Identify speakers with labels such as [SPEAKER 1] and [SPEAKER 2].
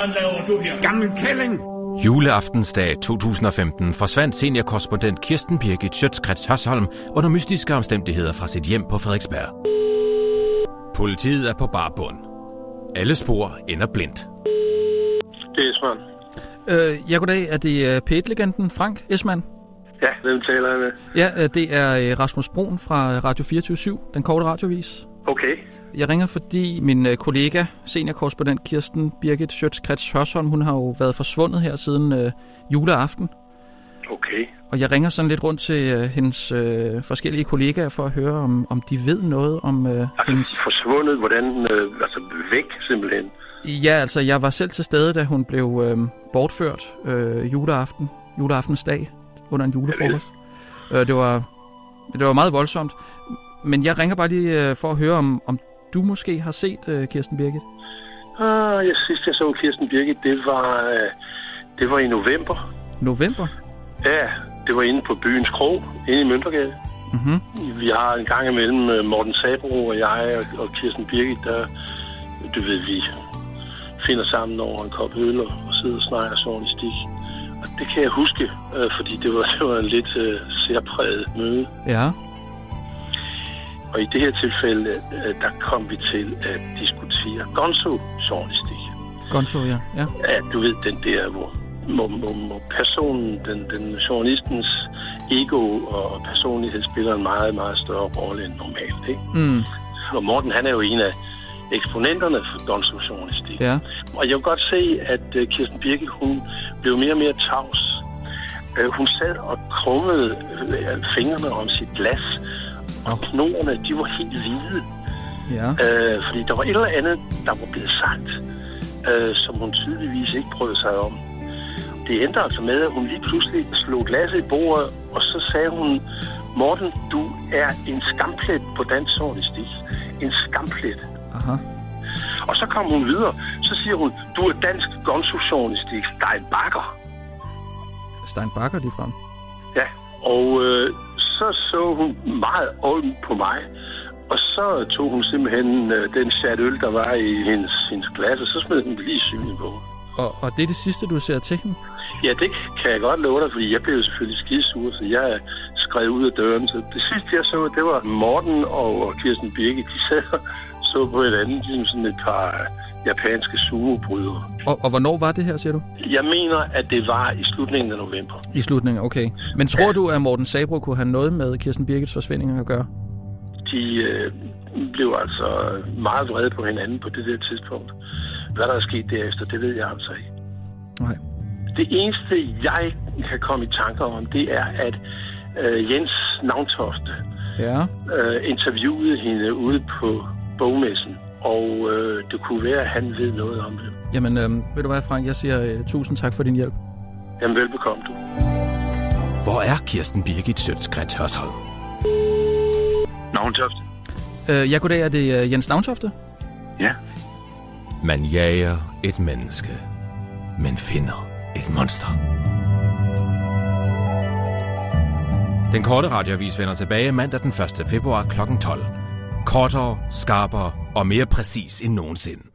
[SPEAKER 1] han laver du her?
[SPEAKER 2] Gammel kælling!
[SPEAKER 3] Juleaftensdag 2015 forsvandt seniorkorrespondent Kirsten Birgit Schøtzgrads Hørsholm under mystiske omstændigheder fra sit hjem på Frederiksberg. Politiet er på bar bund. Alle spor ender blindt.
[SPEAKER 4] Det er Esmeren.
[SPEAKER 5] Øh, ja, goddag. Er det øh, P1-legenden Frank Esmann?
[SPEAKER 4] Ja, hvem taler jeg med?
[SPEAKER 5] Ja, øh, det er øh, Rasmus Broen fra øh, Radio 24 den korte radiovis.
[SPEAKER 4] Okay.
[SPEAKER 5] Jeg ringer, fordi min øh, kollega, seniorkorrespondent Kirsten Birgit Sjøtskrets Hørsholm, hun har jo været forsvundet her siden øh, juleaften.
[SPEAKER 4] Okay.
[SPEAKER 5] Og jeg ringer sådan lidt rundt til øh, hendes øh, forskellige kollegaer for at høre, om, om de ved noget om øh, hendes...
[SPEAKER 4] Altså, forsvundet, hvordan... Øh, altså, væk simpelthen.
[SPEAKER 5] Ja, altså, jeg var selv til stede, da hun blev øh, bortført øh, juleaften, juleaftensdag, under en julefrokost. Øh, det, var, det var meget voldsomt. Men jeg ringer bare lige øh, for at høre, om, om du måske har set øh, Kirsten Birgit.
[SPEAKER 4] Ah, jeg sidst jeg så Kirsten Birgit, det var, øh, det var i november.
[SPEAKER 5] November?
[SPEAKER 4] Ja, det var inde på byens krog, inde i Møntergade.
[SPEAKER 5] Mhm.
[SPEAKER 4] Vi har en gang imellem øh, Morten Sabro og jeg og, og Kirsten Birgit, der, du ved, vi finder sammen over en kop øl og, og sidder og snakker sådan i stik. Og det kan jeg huske, øh, fordi det var, det var en lidt øh, særpræget møde.
[SPEAKER 5] Ja.
[SPEAKER 4] Og i det her tilfælde, øh, der kom vi til at diskutere gonzo journalistik
[SPEAKER 5] Gonzo, ja. ja.
[SPEAKER 4] Ja, du ved, den der, hvor, hvor, hvor, hvor personen, den, den journalistens ego og personlighed spiller en meget, meget større rolle end normalt. Ikke?
[SPEAKER 5] Mm,
[SPEAKER 4] Og Morten, han er jo en af eksponenterne for gonzo journalistik
[SPEAKER 5] ja.
[SPEAKER 4] Og jeg kan godt se, at øh, Kirsten Birke, hun blev mere og mere tavs. Øh, Hun sad og krummede øh, fingrene om sit glas, og knoerne, de var helt hvide.
[SPEAKER 5] Ja.
[SPEAKER 4] Øh, fordi der var et eller andet, der var blevet sagt, øh, som hun tydeligvis ikke brød sig om. Det endte altså med, at hun lige pludselig slog glasset i bordet, og så sagde hun, Morten, du er en skamplet på dansk journalistik. En skamplet.
[SPEAKER 5] Aha.
[SPEAKER 4] Og så kom hun videre. Så siger hun, du er dansk gonzo-journalistik, Stein Bakker.
[SPEAKER 5] Stein Bakker lige frem.
[SPEAKER 4] Ja, og øh, så så hun meget åben på mig, og så tog hun simpelthen øh, den chat øl, der var i hendes, hendes glas, og så smed hun det lige i synet på. mig.
[SPEAKER 5] Og, og det er det sidste, du ser til hende?
[SPEAKER 4] Ja, det kan jeg godt love dig, fordi jeg blev selvfølgelig skidesur, så jeg skrev ud af døren. Så det sidste, jeg så, det var Morten og Kirsten Birke, de sad og så på et andet, ligesom sådan et par øh, japanske sumobrydere.
[SPEAKER 5] Og, og hvornår var det her, siger du?
[SPEAKER 4] Jeg mener, at det var i slutningen af november.
[SPEAKER 5] I slutningen, okay. Men tror du, at Morten Sabro kunne have noget med Kirsten Birgits forsvinding at gøre?
[SPEAKER 4] de øh, blev altså meget vrede på hinanden på det der tidspunkt. Hvad der er sket derefter, det ved jeg altså ikke.
[SPEAKER 5] Nej.
[SPEAKER 4] Det eneste, jeg kan komme i tanker om, det er, at øh, Jens Navntofte
[SPEAKER 5] Ja.
[SPEAKER 4] øh, interviewede hende ude på bogmessen, og øh, det kunne være, at han ved noget om det.
[SPEAKER 5] Jamen, øh, ved du hvad, Frank? Jeg siger øh, tusind tak for din hjælp.
[SPEAKER 4] Jamen, velbekomme du.
[SPEAKER 3] Hvor er Kirsten Birgit Sjøtskrets Hørsholm?
[SPEAKER 4] Navntofte?
[SPEAKER 5] Øh, ja, goddag. Er det øh, Jens Navntofte?
[SPEAKER 4] Ja.
[SPEAKER 3] Man jager et menneske, men finder et monster. Den korte radioavis vender tilbage mandag den 1. februar kl. 12. Kortere, skarpere og mere præcis end nogensinde.